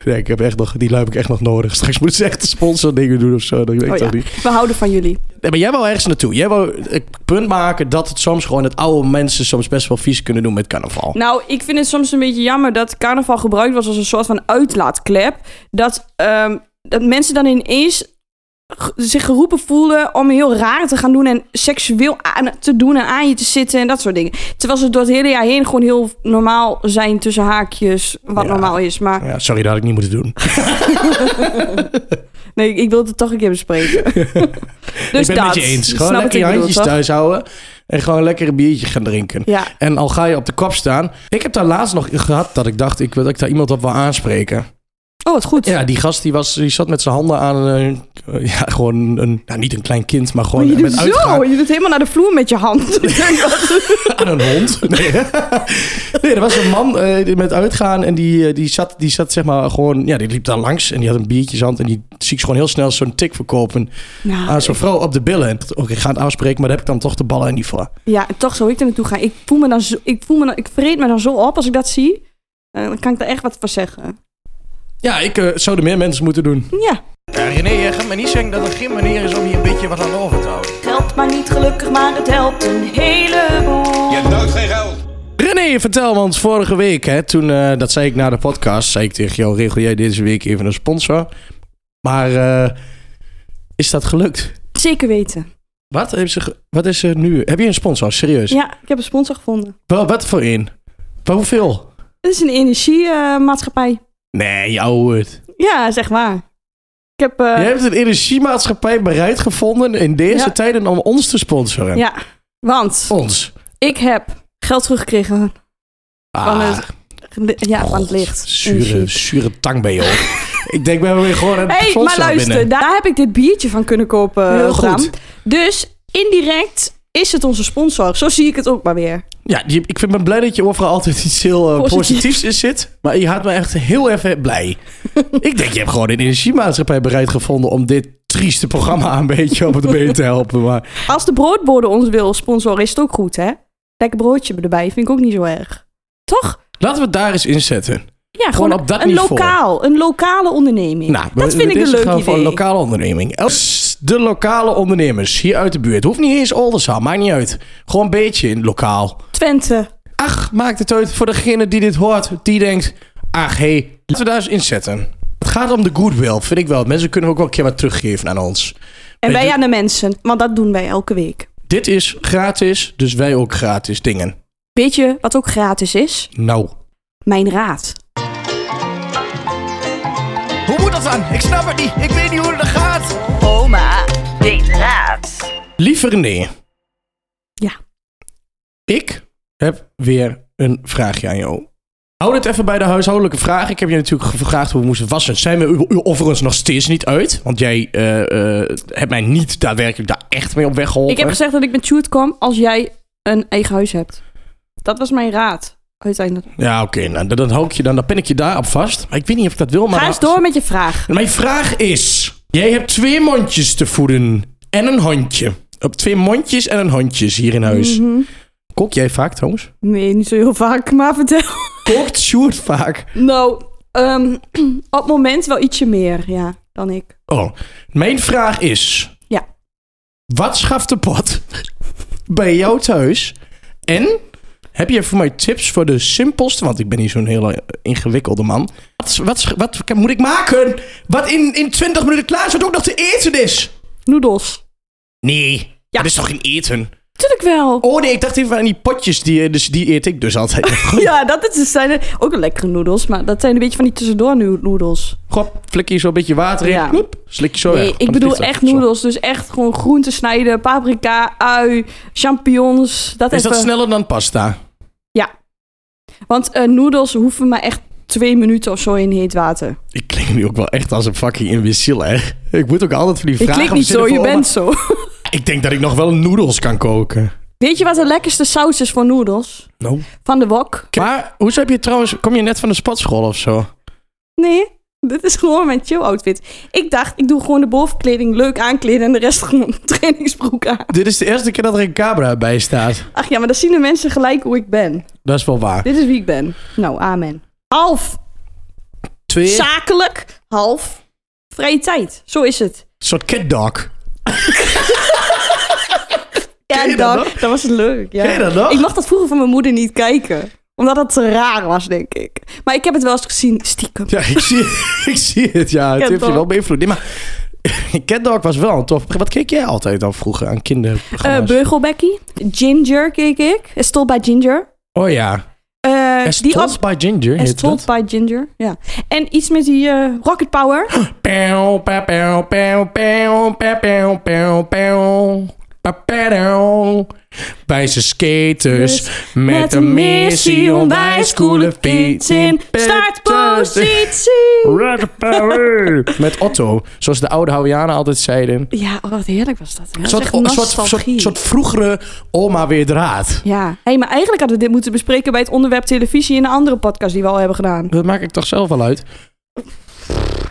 Speaker 2: Nee, ik heb echt nog, die lui heb ik echt nog nodig. Straks moeten ze echt de sponsordingen doen of zo. Dat weet ik
Speaker 1: Oh
Speaker 2: toch
Speaker 1: ja,
Speaker 2: niet.
Speaker 1: we houden van jullie.
Speaker 2: Nee, maar jij wou ergens naartoe. Jij wou het punt maken dat het soms gewoon... dat oude mensen soms best wel vies kunnen doen met carnaval.
Speaker 1: Nou, ik vind het soms een beetje jammer dat carnaval gebruikt was als een soort van uitlaatklep. Dat, ehm, dat mensen dan ineens g- zich geroepen voelen om heel raar te gaan doen en seksueel aan, te doen en aan je te zitten en dat soort dingen. Terwijl ze door het hele jaar heen gewoon heel normaal zijn tussen haakjes, wat
Speaker 2: Ja.
Speaker 1: normaal is. Maar
Speaker 2: Ja, sorry, dat had ik niet moeten doen.
Speaker 1: nee, ik wil het toch een keer bespreken. dus
Speaker 2: ik ben
Speaker 1: dat.
Speaker 2: het met je eens.
Speaker 1: Snap wat ik
Speaker 2: Gewoon lekker je
Speaker 1: bedoel,
Speaker 2: handjes
Speaker 1: toch?
Speaker 2: thuis houden. En gewoon lekker een biertje gaan drinken.
Speaker 1: Ja.
Speaker 2: En al ga je op de kop staan. Ik heb daar laatst nog gehad dat ik dacht ik, wil- dat ik daar iemand op wil aanspreken.
Speaker 1: Oh, wat goed.
Speaker 2: Ja, die gast die, was, die zat met zijn handen aan een... eh, Ja, gewoon een... Nou, niet een klein kind, maar
Speaker 1: Maar
Speaker 2: gewoon
Speaker 1: Oh, je doet
Speaker 2: met
Speaker 1: zo,
Speaker 2: uitgaan
Speaker 1: je doet helemaal naar de vloer met je hand.
Speaker 2: aan een hond. Nee, nee er was een man eh, die met uitgaan en die, eh, die, zat, die zat zeg maar gewoon... Ja, die liep daar langs en die had een biertje in zijn hand. En die zie ik gewoon heel snel zo'n tik verkopen
Speaker 1: nou,
Speaker 2: aan zo'n vrouw op de billen. En ik dacht, Oké, ik ga het afspreken, maar daar heb ik dan toch de ballen niet voor.
Speaker 1: Ja, en toch zou ik er naartoe gaan. Ik voel me dan zo, ik voel me dan, ik vreet me dan zo op als ik dat zie. Eh, Dan kan ik daar echt wat voor zeggen.
Speaker 2: Ja, ik eh, zou er meer mensen moeten doen.
Speaker 1: Ja.
Speaker 2: René, jij gaat me niet zeggen dat er geen manier is om hier een beetje wat aan over te houden.
Speaker 1: Geld maar niet gelukkig, maar het helpt een heleboel.
Speaker 3: Je hebt nooit geen geld.
Speaker 2: René, vertel, want vorige week, hè, toen, eh, dat zei ik na de podcast, zei ik tegen jou, regel jij deze week even een sponsor. Maar eh, is dat gelukt?
Speaker 1: Zeker weten.
Speaker 2: Wat, heeft ze ge- wat is er nu? Heb je een sponsor? Serieus?
Speaker 1: Ja, ik heb een sponsor gevonden.
Speaker 2: Wel, wat voor een? Wel, hoeveel?
Speaker 1: Het is een energiemaatschappij.
Speaker 2: Nee, jouw woord.
Speaker 1: ja, zeg maar. Ik heb... eh,
Speaker 2: Jij hebt een energiemaatschappij bereid gevonden in deze
Speaker 1: Ja.
Speaker 2: tijden om ons te sponsoren.
Speaker 1: ja, want
Speaker 2: Ons.
Speaker 1: ik heb geld teruggekregen. Van het- Ja, van het licht.
Speaker 2: Ah, Zure,
Speaker 1: Energie.
Speaker 2: zure tang bij je hoor. ik denk, we hebben weer gewoon een
Speaker 1: hey, maar
Speaker 2: sponsor
Speaker 1: luister,
Speaker 2: binnen.
Speaker 1: daar heb ik dit biertje van kunnen kopen,
Speaker 2: Heel
Speaker 1: Bram.
Speaker 2: goed.
Speaker 1: Dus indirect is het onze sponsor. Zo zie ik het ook maar weer.
Speaker 2: Ja, je- ik vind, ben blij dat je overal altijd iets heel eh,
Speaker 1: Positief.
Speaker 2: positiefs in zit. Maar je houdt me echt heel even blij. ik denk, je hebt gewoon een energiemaatschappij bereid gevonden... om dit trieste programma een beetje op het been te helpen. Maar
Speaker 1: Als de broodbode ons wil sponsoren, is het ook goed, hè? Lekker broodje erbij, vind ik ook niet zo erg. Toch?
Speaker 2: laten we het daar eens inzetten.
Speaker 1: Ja,
Speaker 2: Gewoon op dat
Speaker 1: een
Speaker 2: niveau.
Speaker 1: lokaal, een lokale onderneming.
Speaker 2: Nou,
Speaker 1: dat vind ik een leuk idee.
Speaker 2: voor een lokale onderneming. Els, De lokale ondernemers hier uit de buurt. Hoeft niet eens Oldenzaal, maakt niet uit. Gewoon een beetje in lokaal.
Speaker 1: Twente.
Speaker 2: Ach, maakt het uit voor degene die dit hoort. Die denkt, ach hé, hey, laten we daar eens inzetten. Het gaat om de goodwill, vind ik wel. Mensen kunnen ook wel een keer wat teruggeven aan ons.
Speaker 1: En
Speaker 2: Weet
Speaker 1: wij
Speaker 2: je-
Speaker 1: aan de mensen, want dat doen wij elke week.
Speaker 2: Dit is gratis, dus wij ook gratis dingen.
Speaker 1: Weet je wat ook gratis is?
Speaker 2: Nou.
Speaker 1: Mijn raad.
Speaker 2: Hoe moet dat dan? Ik snap het niet. Ik weet niet hoe het gaat.
Speaker 4: Oma, weet raad.
Speaker 2: Liever nee.
Speaker 1: Ja.
Speaker 2: Ik heb weer een vraagje aan jou. Hou dit even bij de huishoudelijke vraag. Ik heb je natuurlijk gevraagd hoe we moesten wassen. Zijn we u- u- overigens nog steeds niet uit? Want jij eh, eh, hebt mij niet daadwerkelijk daar echt mee op weg geholpen.
Speaker 1: Ik heb gezegd dat ik met Shoot kom als jij een eigen huis hebt. Dat was mijn raad. uiteindelijk.
Speaker 2: Ja, oké. nou, dan, dan hoop je dan, dan pin ik je daarop vast. Maar ik weet niet of ik dat wil, maar...
Speaker 1: Ga eens door met je vraag.
Speaker 2: Mijn vraag is... Jij hebt twee mondjes te voeden en een hondje. Op twee mondjes en een hondjes hier in huis.
Speaker 1: Mhm.
Speaker 2: Kok jij vaak trouwens?
Speaker 1: Nee, niet zo heel vaak, maar vertel.
Speaker 2: Kookt Sjoerd vaak?
Speaker 1: Nou, ehm, op het moment wel ietsje meer, ja, dan ik.
Speaker 2: Oh, mijn vraag is...
Speaker 1: Ja.
Speaker 2: Wat schaft de pot bij jou thuis? En heb je voor mij tips voor de simpelste... Want ik ben niet zo'n heel eh, ingewikkelde man. Wat, wat, wat, moet ik maken? Wat in, in 20 minuten klaar is, wat ook nog te eten is?
Speaker 1: Noedels.
Speaker 2: Nee,
Speaker 1: Ja.
Speaker 2: dat is toch geen eten?
Speaker 1: Tuurlijk wel.
Speaker 2: Oh nee, ik dacht even aan die potjes. Die, eh, dus, die eet ik dus altijd.
Speaker 1: Ja, dat is, dus zijn er- ook lekkere noedels, maar dat zijn een beetje van die tussendoor noe- noedels.
Speaker 2: Gop, flik je zo een beetje water in.
Speaker 1: Ja.
Speaker 2: Ploep, slik je zo weg.
Speaker 1: Nee,
Speaker 2: Want
Speaker 1: ik
Speaker 2: het
Speaker 1: bedoel
Speaker 2: ligt er.
Speaker 1: echt
Speaker 2: Zo.
Speaker 1: noedels. Dus echt gewoon groenten snijden, paprika, ui, champignons. Dat
Speaker 2: Is
Speaker 1: even.
Speaker 2: dat sneller dan pasta?
Speaker 1: Want eh, noedels hoeven maar echt twee minuten of zo in heet water.
Speaker 2: Ik klink nu ook wel echt als een fucking imbecile, hè? Ik moet ook altijd van die
Speaker 1: Ik
Speaker 2: vragen...
Speaker 1: klik niet zo, je
Speaker 2: verzinnen voor
Speaker 1: bent zo.
Speaker 2: oma. Ik denk dat ik nog wel noedels kan koken.
Speaker 1: Weet je wat de lekkerste saus is voor noedels?
Speaker 2: Nou.
Speaker 1: Van de wok?
Speaker 2: Maar hoezo heb je trouwens... Kom je net van de sportschool of zo?
Speaker 1: Nee, dit is gewoon mijn chill outfit. Ik dacht, ik doe gewoon de bovenkleding leuk aankleden en de rest gewoon trainingsbroek aan.
Speaker 2: Dit is de eerste keer dat er een cabra bij staat.
Speaker 1: Ach ja, maar dan zien de mensen gelijk hoe ik ben.
Speaker 2: Dat is wel waar.
Speaker 1: Dit is wie ik ben. Nou, amen. Half
Speaker 2: Twee... Een
Speaker 1: zakelijk, half vrije tijd. Zo is het.
Speaker 2: soort cat dog.
Speaker 1: Ja,
Speaker 2: Ken je
Speaker 1: dan,
Speaker 2: dat nog?
Speaker 1: dat was leuk. Ja.
Speaker 2: Ken je dat nog?
Speaker 1: Ik mocht dat vroeger van mijn moeder niet kijken. Omdat dat te raar was, denk ik. Maar ik heb het wel eens gezien, stiekem.
Speaker 2: Ja, ik zie, ik zie het. Ja, het
Speaker 1: Cat
Speaker 2: heeft je
Speaker 1: dog.
Speaker 2: wel beïnvloed. Nee, maar... Cat dog was wel een tof... Wat keek jij altijd dan vroeger aan
Speaker 1: Eh
Speaker 2: kinderprogramma's?
Speaker 1: Beugelbekkie. Ginger keek ik. Estol by Ginger.
Speaker 2: oh ja.
Speaker 1: Eh, die
Speaker 2: Estolt
Speaker 1: op-
Speaker 2: by Ginger heet
Speaker 1: Estol
Speaker 2: dat.
Speaker 1: by Ginger, ja. En iets met die eh, Rocket Power.
Speaker 2: Pew, pew, pew, pew, pew, pew, pew, pew, pew. Pa, pew. Bij zijn skaters
Speaker 1: Dus
Speaker 2: met een missie onwijs coole fiets in
Speaker 1: Startpositie.
Speaker 2: Rocket power. Met Otto, zoals de oude Hawaiianen altijd zeiden.
Speaker 1: Ja, oh, wat heerlijk was dat. Ja,
Speaker 2: Een
Speaker 1: dat is
Speaker 2: soort,
Speaker 1: echt
Speaker 2: een soort, soort,
Speaker 1: nostalgie.
Speaker 2: soort vroegere oma weer draad.
Speaker 1: Ja, hey, maar eigenlijk hadden we dit moeten bespreken bij het onderwerp televisie in een andere podcast die we al hebben gedaan.
Speaker 2: Dat maak ik toch zelf wel uit.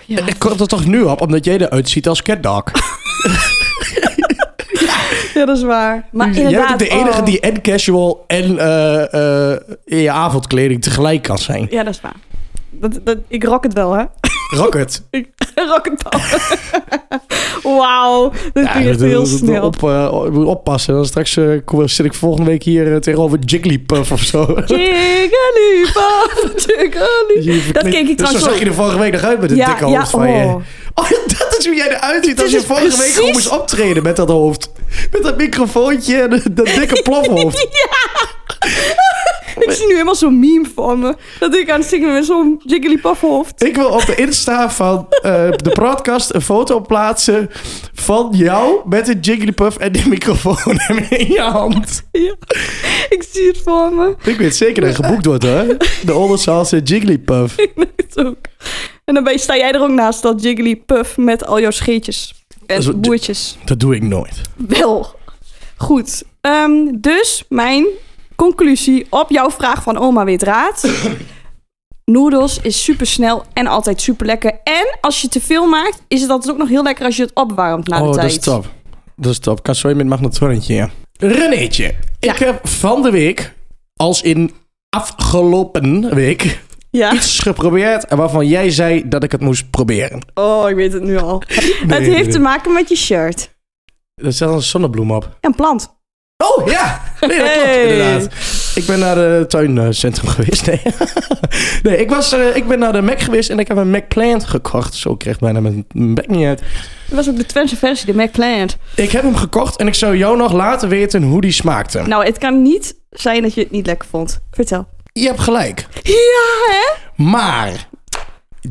Speaker 1: Ja.
Speaker 2: Ik kom er toch nu op, omdat jij eruit ziet als catdog.
Speaker 1: Ja, dat is waar. Maar
Speaker 2: Jij
Speaker 1: inderdaad,
Speaker 2: bent de enige
Speaker 1: oh.
Speaker 2: die en casual en eh, eh, in je avondkleding tegelijk kan zijn.
Speaker 1: Ja, dat is waar. Dat, dat, ik rock het wel, hè?
Speaker 2: Rocket.
Speaker 1: rock het wel. Wauw, dat
Speaker 2: Ja,
Speaker 1: ging
Speaker 2: dat-
Speaker 1: echt
Speaker 2: dat-
Speaker 1: heel
Speaker 2: dat-
Speaker 1: snel.
Speaker 2: Op, eh, ik moet oppassen. Dan straks eh, kom- zit ik volgende week hier eh, tegenover Jigglypuff of zo.
Speaker 1: Jigglypuff, jigglypuff. Dat keek ik
Speaker 2: dus zo
Speaker 1: trouwens
Speaker 2: zag je
Speaker 1: ook.
Speaker 2: er vorige week nog uit met het dikke hoofd van je.
Speaker 1: oh.
Speaker 2: Oh, dat is hoe jij eruit ziet
Speaker 1: Dit
Speaker 2: als je
Speaker 1: is
Speaker 2: vorige week gewoon
Speaker 1: precies-
Speaker 2: moest optreden met dat hoofd. Met dat microfoontje en dat dikke plofhoofd.
Speaker 1: Ik zie nu helemaal zo'n meme van me. Dat ik aan het zingen ben met zo'n Jigglypuff hoofd.
Speaker 2: Ik wil op de Insta van eh, de podcast een foto plaatsen van jou met een Jigglypuff en die microfoon in je hand.
Speaker 1: Ja. Ik zie het voor me.
Speaker 2: Ik weet zeker dat het geboekt wordt hoor. De Oldershaalse Jigglypuff.
Speaker 1: Ik weet het ook. En dan ben je- sta jij er ook naast dat Jigglypuff met al jouw scheetjes
Speaker 2: Dat is wat-
Speaker 1: en boertjes.
Speaker 2: Dat doe ik nooit.
Speaker 1: Wel. Goed. Ehm, dus mijn conclusie op jouw vraag van oma weet raad. Noedels is super snel en altijd super lekker. En als je te veel maakt, is het altijd ook nog heel lekker als je het opwarmt na de
Speaker 2: oh,
Speaker 1: tijd.
Speaker 2: dat is top. Dat is top. Kan zo met magnetronnetje, ja. Renéetje,
Speaker 1: Ja.
Speaker 2: ik heb van de week, als in afgelopen week,
Speaker 1: Ja.
Speaker 2: iets geprobeerd en waarvan jij zei dat ik het moest proberen.
Speaker 1: Oh, ik weet het nu al. het heeft te maken met je shirt.
Speaker 2: Er staat een zonnebloem op.
Speaker 1: En plant.
Speaker 2: Oh, ja! Nee, dat klopt
Speaker 1: Hey.
Speaker 2: inderdaad. Ik ben naar de tuincentrum geweest. Nee, nee ik, was, eh, ik ben naar de Mac geweest en ik heb een Mac Plant gekocht. Zo ik kreeg bijna mijn mijn bek niet uit.
Speaker 1: Dat was ook de Twentse versie, de McPlant.
Speaker 2: Ik heb hem gekocht en ik zou jou nog laten weten hoe die smaakte.
Speaker 1: Nou, het kan niet zijn dat je het niet lekker vond. Vertel.
Speaker 2: Je hebt gelijk.
Speaker 1: Ja, hè?
Speaker 2: Maar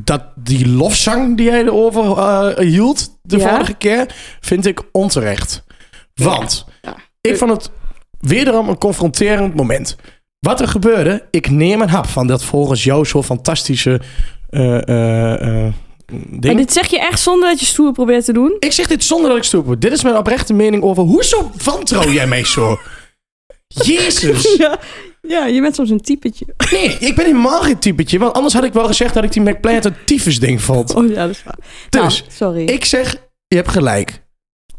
Speaker 2: dat die lofzang die jij erover eh, hield de
Speaker 1: Ja.
Speaker 2: vorige keer, vind ik onterecht. Want
Speaker 1: Ja.
Speaker 2: ik vond het wederom een confronterend moment. Wat er gebeurde, ik neem een hap van dat volgens jou zo fantastische eh, eh, eh,
Speaker 1: Maar
Speaker 2: ding.
Speaker 1: dit zeg je echt zonder dat je stoer probeert te doen?
Speaker 2: Ik zeg dit zonder dat ik stoep. Dit is mijn oprechte mening over hoezo wantrouw jij mij zo? Jezus.
Speaker 1: Ja, ja, je bent soms een typetje.
Speaker 2: Nee, ik ben helemaal geen typetje. Want anders had ik wel gezegd dat ik die McPlant een tyfus ding vond.
Speaker 1: Oh ja, dat is waar.
Speaker 2: Dus,
Speaker 1: Nou, sorry.
Speaker 2: ik zeg, je hebt gelijk.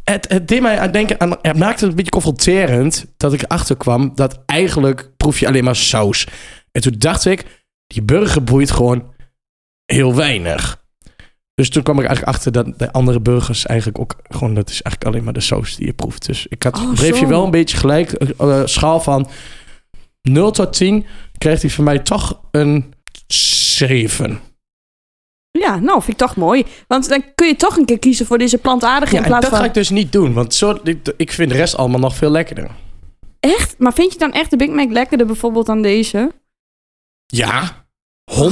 Speaker 2: Het, het deed mij aan denken, aan, het maakte het een beetje confronterend dat ik erachter kwam dat eigenlijk proef je alleen maar saus. En toen dacht ik, die burger boeit gewoon heel weinig. Dus toen kwam ik eigenlijk achter dat de andere burgers eigenlijk ook gewoon, dat is eigenlijk alleen maar de saus die je proeft. Dus ik had,
Speaker 1: Oh,
Speaker 2: breef
Speaker 1: zo.
Speaker 2: je wel een beetje gelijk, eh, eh, schaal van 0 tot 10, kreeg hij van mij toch een 7.
Speaker 1: Ja, nou, vind ik toch mooi. Want dan kun je toch een keer kiezen voor deze plantaardige
Speaker 2: Ja,
Speaker 1: in
Speaker 2: en dat
Speaker 1: plaats van...
Speaker 2: ga ik dus niet doen, want zo, ik, ik vind de rest allemaal nog veel lekkerder.
Speaker 1: Echt? Maar vind je dan echt de Big Mac lekkerder bijvoorbeeld dan deze?
Speaker 2: Ja, 100.000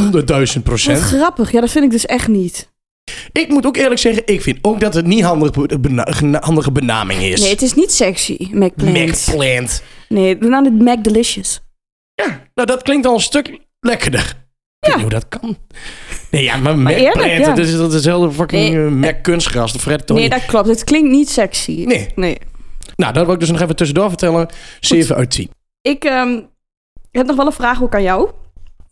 Speaker 1: Wat
Speaker 2: procent.
Speaker 1: grappig. Ja, dat vind ik dus echt niet.
Speaker 2: Ik moet ook eerlijk zeggen, ik vind ook dat het niet handig be- bena- gena- handige benaming is.
Speaker 1: Nee, het is niet sexy, McPlant.
Speaker 2: McPlant.
Speaker 1: Nee, we namen het Mac Delicious.
Speaker 2: Ja, nou dat klinkt al een stuk lekkerder. Ik weet niet hoe dat kan. Nee, ja, maar
Speaker 1: eerlijk,
Speaker 2: McPlant,
Speaker 1: ja.
Speaker 2: dat is dat is hetzelfde fucking
Speaker 1: Nee,
Speaker 2: eh, Mac kunstgras, de Fred Tony.
Speaker 1: Nee, dat klopt. Het klinkt niet sexy.
Speaker 2: Nee.
Speaker 1: Nee.
Speaker 2: Nou, dat wil ik dus nog even tussendoor vertellen. 7 uit 10.
Speaker 1: Ik ehm, heb nog wel een vraag ook aan jou.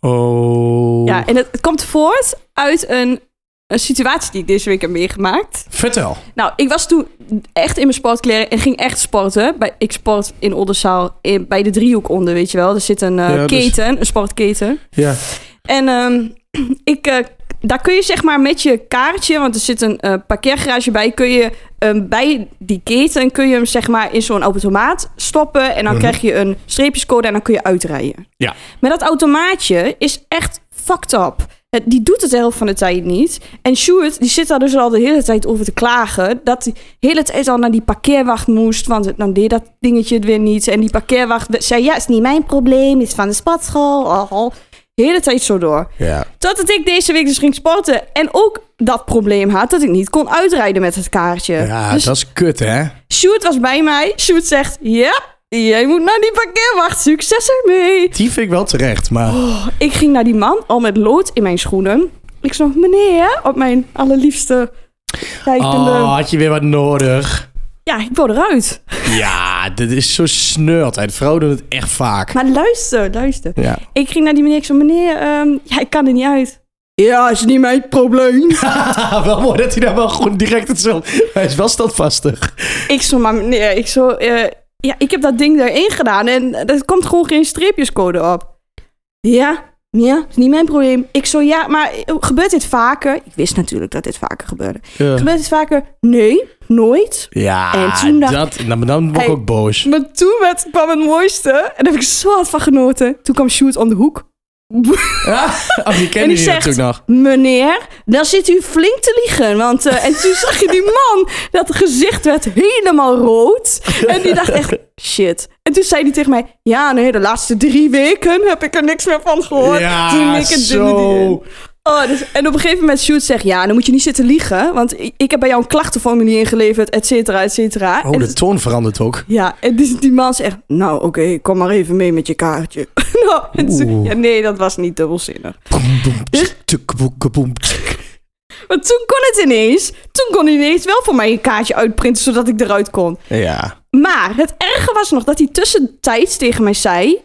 Speaker 2: Oh.
Speaker 1: Ja, en het, het komt voort uit een, een situatie die ik deze week heb meegemaakt.
Speaker 2: Vertel.
Speaker 1: Nou, ik was toen echt in mijn sportkleren en ging echt sporten. Bij, ik sport in Oldenzaal, in, bij de driehoek onder, weet je wel. Er zit een eh,
Speaker 2: Ja, dus-
Speaker 1: keten, een sportketen.
Speaker 2: Ja.
Speaker 1: En ehm, ik, eh, daar kun je zeg maar met je kaartje, want er zit een eh, parkeergarage bij, kun je ehm, bij die keten kun je hem zeg maar in zo'n automaat stoppen. En
Speaker 2: Mhm.
Speaker 1: dan krijg je een streepjescode en dan kun je uitrijden.
Speaker 2: Ja.
Speaker 1: Maar dat automaatje is echt fucked up. Het- Die doet het de helft van de tijd niet. En Sjoerd, die zit daar dus al de hele tijd over te klagen. Dat hij de hele tijd al naar die parkeerwacht moest. Want dan deed dat dingetje het weer niet. En die parkeerwacht zei, ja, is niet mijn probleem. Is van de spatschool. Oh, oh. De hele tijd zo door.
Speaker 2: Ja.
Speaker 1: Totdat ik deze week dus ging sporten. En ook dat probleem had dat ik niet kon uitrijden met het kaartje.
Speaker 2: Ja,
Speaker 1: dus
Speaker 2: dat is kut, hè?
Speaker 1: Sjoerd was bij mij. Sjoerd zegt, ja, jij moet naar die parkeerwacht. Succes ermee.
Speaker 2: Die vind ik wel terecht, maar...
Speaker 1: Ik ging naar die man, al met lood in mijn schoenen. Ik zei, meneer, op mijn allerliefste kijkende...
Speaker 2: Oh, had je weer wat nodig.
Speaker 1: Ja, ik wou eruit.
Speaker 2: Ja, dit is zo sneurtijd. Vrouwen doen het echt vaak.
Speaker 1: Maar luister, luister.
Speaker 2: Ja.
Speaker 1: Ik ging naar die meneer, ik zei, meneer, ehm, ja, ik kan er niet uit. Ja, is niet mijn probleem.
Speaker 2: wel mooi dat hij daar wel gewoon direct hetzelfde... Hij is wel standvastig.
Speaker 1: ik zo, maar meneer, ik zo, eh, ja, ik heb dat ding daarin gedaan en er komt gewoon geen streepjescode op. Ja, ja, is niet mijn probleem. Ik zo, ja, maar eh, gebeurt dit vaker? Ik wist natuurlijk dat dit vaker gebeurde. Gebeurt dit vaker? Nee, nooit.
Speaker 2: Ja,
Speaker 1: En toen dacht-
Speaker 2: dat, nou, dan word ik
Speaker 1: Hij-
Speaker 2: ook boos.
Speaker 1: Maar toen werd, kwam het mooiste en daar heb ik zo hard van genoten. Toen kwam Shoot om de hoek.
Speaker 2: Ja, oh, die
Speaker 1: en
Speaker 2: kennen
Speaker 1: die
Speaker 2: die
Speaker 1: zegt,
Speaker 2: natuurlijk nog.
Speaker 1: meneer, daar zit u flink te liegen. Want, eh, en toen zag je die man, dat gezicht werd helemaal rood. En die dacht echt, shit. En toen zei hij tegen mij, ja nee, de laatste drie weken heb ik er niks meer van gehoord. toen
Speaker 2: Ja,
Speaker 1: ik het
Speaker 2: zo.
Speaker 1: Oh, dus, en op een gegeven moment Sjoerd zegt, ja, dan moet je niet zitten liegen. Want ik, ik heb bij jou een klachtenformulier ingeleverd, et cetera, et cetera.
Speaker 2: Oh,
Speaker 1: En
Speaker 2: de
Speaker 1: dus-
Speaker 2: toon verandert ook.
Speaker 1: ja, en dus die man zegt, nou oké, kom maar even mee met je kaartje. nou, en toen-
Speaker 2: Oeh.
Speaker 1: ja, nee, dat was niet dubbelzinnig.
Speaker 2: Boem, boem, tsk, tuk, boem, kaboem, tsk.
Speaker 1: Maar toen kon het ineens. Toen kon hij ineens wel voor mij een kaartje uitprinten, zodat ik eruit kon.
Speaker 2: Ja.
Speaker 1: Maar het erge was nog dat hij tussentijds tegen mij zei...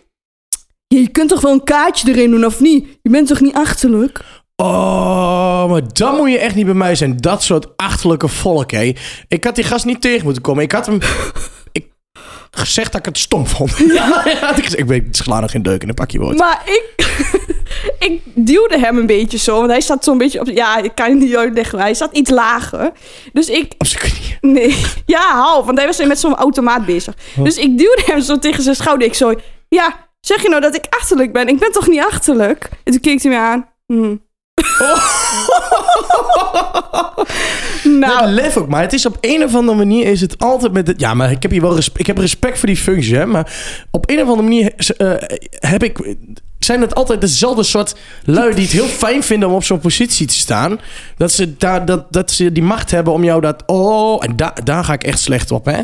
Speaker 1: "Ja, Je kunt toch wel een kaartje erin doen, of niet? Je bent toch niet achterlijk?
Speaker 2: Oh, maar dan moet je echt niet bij mij zijn. Dat soort achterlijke volk, hè. Ik had die gast niet tegen moeten komen. Ik had hem... ik gezegd dat ik het stom vond. Ja, had ik gezegd. Ik weet, sla nog geen deuk in een pakje woord.
Speaker 1: Maar ik... ik duwde hem een beetje zo, want hij zat zo'n beetje op... Ja, ik kan het niet uitleggen, maar hij zat iets lager. Dus ik...
Speaker 2: Op zijn knieën.
Speaker 1: Nee, ja, half, want hij was met zo'n automaat bezig. Dus ik duwde hem zo tegen zijn schouder. Ik zo, ja, zeg je nou dat ik achterlijk ben? Ik ben toch niet achterlijk? En toen keek hij me aan. Hm.
Speaker 2: Nou,
Speaker 1: nou,
Speaker 2: lef ook, maar het is op een of andere manier is het altijd met... Het, ja, maar ik heb hier wel respect, ik heb respect voor die functie, hè. Maar op een of andere manier eh, heb ik... Zijn het altijd dezelfde soort lui die het heel fijn vinden om op zo'n positie te staan? Dat ze, daar, dat, dat ze die macht hebben om jou dat... Oh, en da, daar ga ik echt slecht op, hè?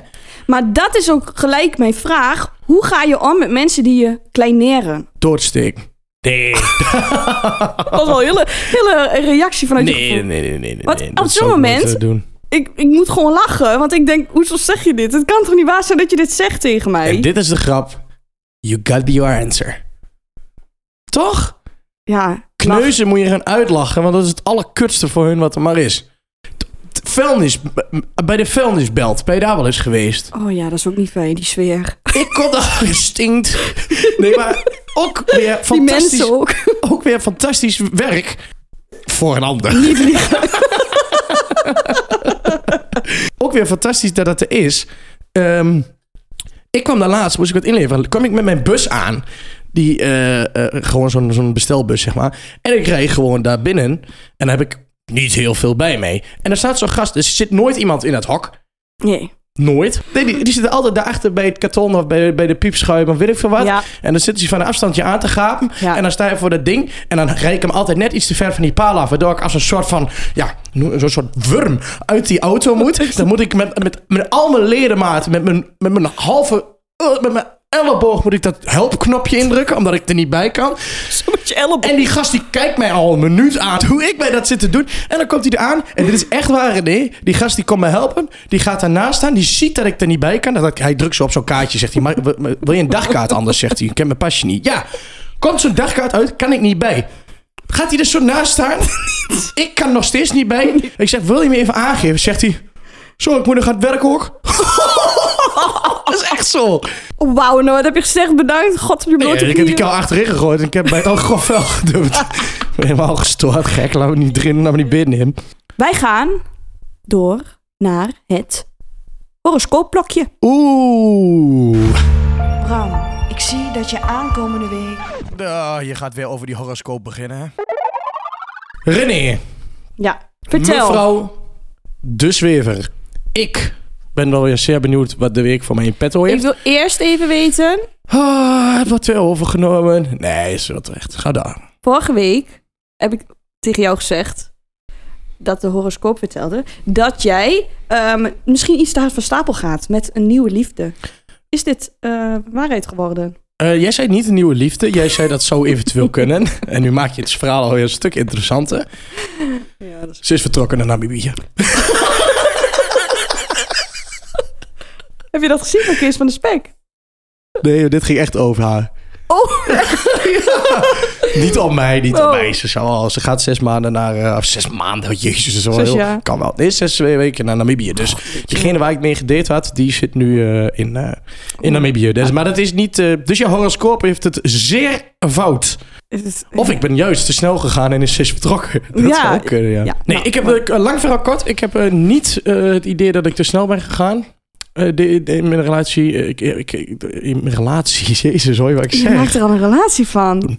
Speaker 1: maar dat is ook gelijk mijn vraag. Hoe ga je om met mensen die je kleineren?
Speaker 2: Doodsteek. Nee.
Speaker 1: Dat was wel een hele, hele reactie vanuit je
Speaker 2: Nee,
Speaker 1: gevoel.
Speaker 2: nee, nee, nee. nee,
Speaker 1: Wat,
Speaker 2: nee,
Speaker 1: op
Speaker 2: dat
Speaker 1: zo'n
Speaker 2: zou ik
Speaker 1: moment-
Speaker 2: nooit, eh, doen.
Speaker 1: Ik, ik moet gewoon lachen, want ik denk, hoezo zeg je dit? Het kan toch niet waar zijn dat je dit zegt tegen mij?
Speaker 2: En dit is de grap. You got your answer. Toch?
Speaker 1: Ja, lach.
Speaker 2: Kneuzen moet je gaan uitlachen, want dat is het allerkutste voor hun wat er maar is. T- t- Vuilnis, bij de vuilnisbelt, ben je daar wel eens geweest?
Speaker 1: Oh ja, dat is ook niet fijn, die sfeer.
Speaker 2: Ik kon daar gestinkt. Nee, maar ook weer
Speaker 1: Die
Speaker 2: fantastisch.
Speaker 1: mensen ook.
Speaker 2: ook weer fantastisch werk voor een ander. ook weer fantastisch dat dat er is. Ehm, ik kwam daar laatst, moest ik wat inleveren. kwam ik met mijn bus aan. Die, eh, eh, gewoon zo'n zo'n bestelbus, zeg maar. En ik rijd gewoon daar binnen. En daar heb ik niet heel veel bij mee. En er staat zo'n gast. Dus er zit nooit iemand in het hok.
Speaker 1: Nee.
Speaker 2: Nooit. Nee, die, die zitten altijd daarachter bij het karton of bij, bij de piepschuim of weet ik veel wat.
Speaker 1: Ja.
Speaker 2: En dan zitten ze van een afstandje aan te gapen.
Speaker 1: Ja.
Speaker 2: En dan sta je voor dat ding. En dan rijd ik hem altijd net iets te ver van die paal af. Waardoor ik als een soort van, ja, no- zo'n soort wurm uit die auto moet. Dan moet ik met, met, met al mijn ledematen, met mijn, met mijn halve, eh, met mijn elleboog moet ik dat helpknopje indrukken. Omdat ik er niet bij kan.
Speaker 1: Zo met je elleboog.
Speaker 2: En die gast die kijkt mij al een minuut aan hoe ik mij dat zit te doen. En dan komt hij eraan. En dit is echt waar, René. Die gast die komt me helpen. Die gaat daarnaast staan. Die ziet dat ik er niet bij kan. Dat ik- hij drukt zo op zo'n kaartje. Zegt hij, maar w- w- wil je een dagkaart anders? Zegt hij, ik ken mijn pasje niet. Ja, komt zo'n dagkaart uit, kan ik niet bij. Gaat hij er zo naast staan? ik kan nog steeds niet bij. Ik zeg, wil je me even aangeven? Zegt hij, zo, ik moet nog aan het werk ook. Dat is echt zo.
Speaker 1: Oh, wauw, nou wat heb je gezegd? Bedankt. God op je blote
Speaker 2: Ja, ik heb
Speaker 1: knieën.
Speaker 2: die kou achterin gegooid en ik heb bij het alcohol vuil gedumpt. ik ben helemaal gestoord, gek. Laten we niet erin, laten we niet binnen in.
Speaker 1: Wij gaan door naar het horoscoopblokje.
Speaker 2: Oeh.
Speaker 1: Bram, ik zie dat je aankomende week...
Speaker 2: Ah, je gaat weer over die horoscoop beginnen, hè? René.
Speaker 1: Ja, vertel.
Speaker 2: Mevrouw de Zwever. Ik ben wel weer zeer benieuwd wat de week voor mij in petto
Speaker 1: Ik
Speaker 2: heeft.
Speaker 1: wil eerst even weten...
Speaker 2: Ah, het wordt weer overgenomen. Nee, is wel terecht. Ga daar.
Speaker 1: Vorige week heb ik tegen jou gezegd dat de horoscoop vertelde dat jij ehm, misschien iets te van stapel gaat met een nieuwe liefde. Is dit eh, waarheid geworden?
Speaker 2: Eh, jij zei niet een nieuwe liefde. Jij zei dat zou eventueel kunnen. En nu maak je het verhaal alweer een stuk interessanter.
Speaker 1: Ja, dat is...
Speaker 2: Ze is vertrokken naar Namibië.
Speaker 1: Heb je dat gezien van Kees van de Spek?
Speaker 2: Nee, dit ging echt over haar.
Speaker 1: Oh,
Speaker 2: Niet op mij, niet
Speaker 1: Oh.
Speaker 2: op mij. Ze, zou al- ze gaat zes maanden naar... eh, of zes maanden, oh, jezus. Dat is wel
Speaker 1: Zes
Speaker 2: heel-
Speaker 1: jaar. Oh,
Speaker 2: Kan wel. Nee, zes eh, weken naar Namibië. Dus degene waar ik mee gedate had, die zit nu eh, in, eh, in Namibië.
Speaker 1: Oh.
Speaker 2: Dus, maar dat is niet... eh, dus je horoscoop heeft het zeer fout.
Speaker 1: is het...
Speaker 2: Of ik ben juist te snel gegaan en is zes vertrokken. Dat
Speaker 1: Ja.
Speaker 2: zou ook kunnen, ja.
Speaker 1: Ja,
Speaker 2: nee,
Speaker 1: nou,
Speaker 2: ik heb...
Speaker 1: maar-
Speaker 2: eh, lang verhaal kort. Ik heb eh, niet eh, het idee dat ik te snel ben gegaan. Eh, de- de- in mijn relatie... eh, ik, ik, ik- in mijn relatie... Jezus, hoor je wat ik
Speaker 1: Je
Speaker 2: zeg?
Speaker 1: maakt er al een relatie van.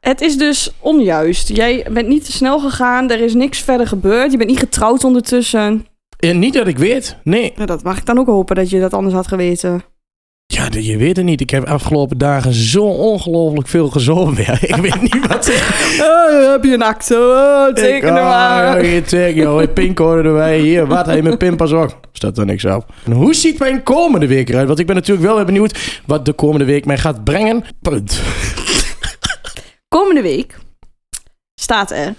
Speaker 1: het is dus onjuist. Jij bent niet te snel gegaan, er is niks verder gebeurd. Je bent niet getrouwd ondertussen.
Speaker 2: Eh, niet dat ik weet, nee.
Speaker 1: Nou, dat mag ik dan ook hopen dat je dat anders had geweten.
Speaker 2: Ja, de- je weet het niet. Ik heb afgelopen dagen zo ongelooflijk veel gezopen. weer. ik weet niet wat ik...
Speaker 1: Eh, heb je een acte? Eh,
Speaker 2: ah,
Speaker 1: nou
Speaker 2: je teken, joh. Je pincode erbij. Hier, wat? Hé, mijn pinpas ook. Staat er niks op. En hoe ziet mijn komende week eruit? Want ik ben natuurlijk wel weer benieuwd wat de komende week mij gaat brengen. Punt.
Speaker 1: Komende week staat er.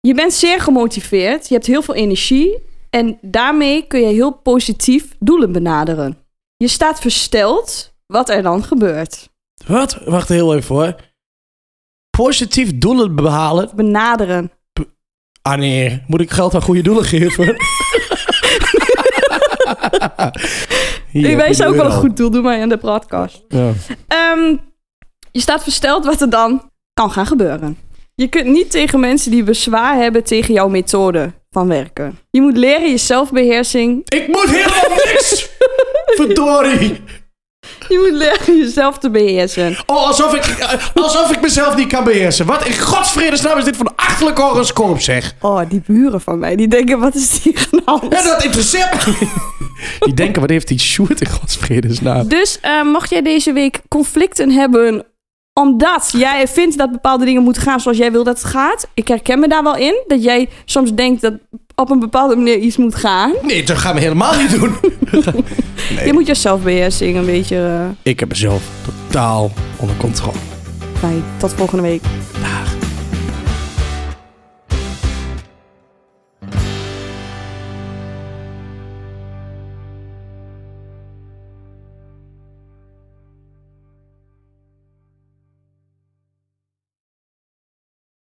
Speaker 1: Je bent zeer gemotiveerd, je hebt heel veel energie en daarmee kun je heel positief doelen benaderen. Je staat versteld wat er dan gebeurt.
Speaker 2: Wat? Wacht heel even hoor. Positief doelen behalen?
Speaker 1: Benaderen.
Speaker 2: Ah nee, moet ik geld aan goede doelen geven? Hier,
Speaker 1: Wij
Speaker 2: heb je
Speaker 1: zijn ook
Speaker 2: de
Speaker 1: wel een
Speaker 2: euro.
Speaker 1: goed doel, doe maar aan de broadcast.
Speaker 2: Ja.
Speaker 1: Ehm, je staat versteld wat er dan kan gaan gebeuren. Je kunt niet tegen mensen die bezwaar hebben tegen jouw methode van werken. Je moet leren je zelfbeheersing.
Speaker 2: Ik moet helemaal niks! Verdorie!
Speaker 1: Je moet leren jezelf te beheersen.
Speaker 2: Oh, alsof ik, eh, alsof ik mezelf niet kan beheersen. Wat in godsvredesnaam is dit voor een achterlijk horoscoop, zeg?
Speaker 1: Oh, die buren van mij, die denken, wat is hier aan
Speaker 2: En dat interesseert me. Die denken, wat heeft die shoot in godsvredesnaam?
Speaker 1: Dus eh, mocht jij deze week conflicten hebben omdat jij vindt dat bepaalde dingen moeten gaan zoals jij wil dat het gaat. Ik herken me daar wel in. Dat jij soms denkt dat op een bepaalde manier iets moet gaan.
Speaker 2: Nee, dat gaan we helemaal niet doen.
Speaker 1: Je moet je zelfbeheersing een beetje eh,
Speaker 2: Ik heb mezelf totaal onder controle.
Speaker 1: fijn. Tot volgende week.
Speaker 2: Dag.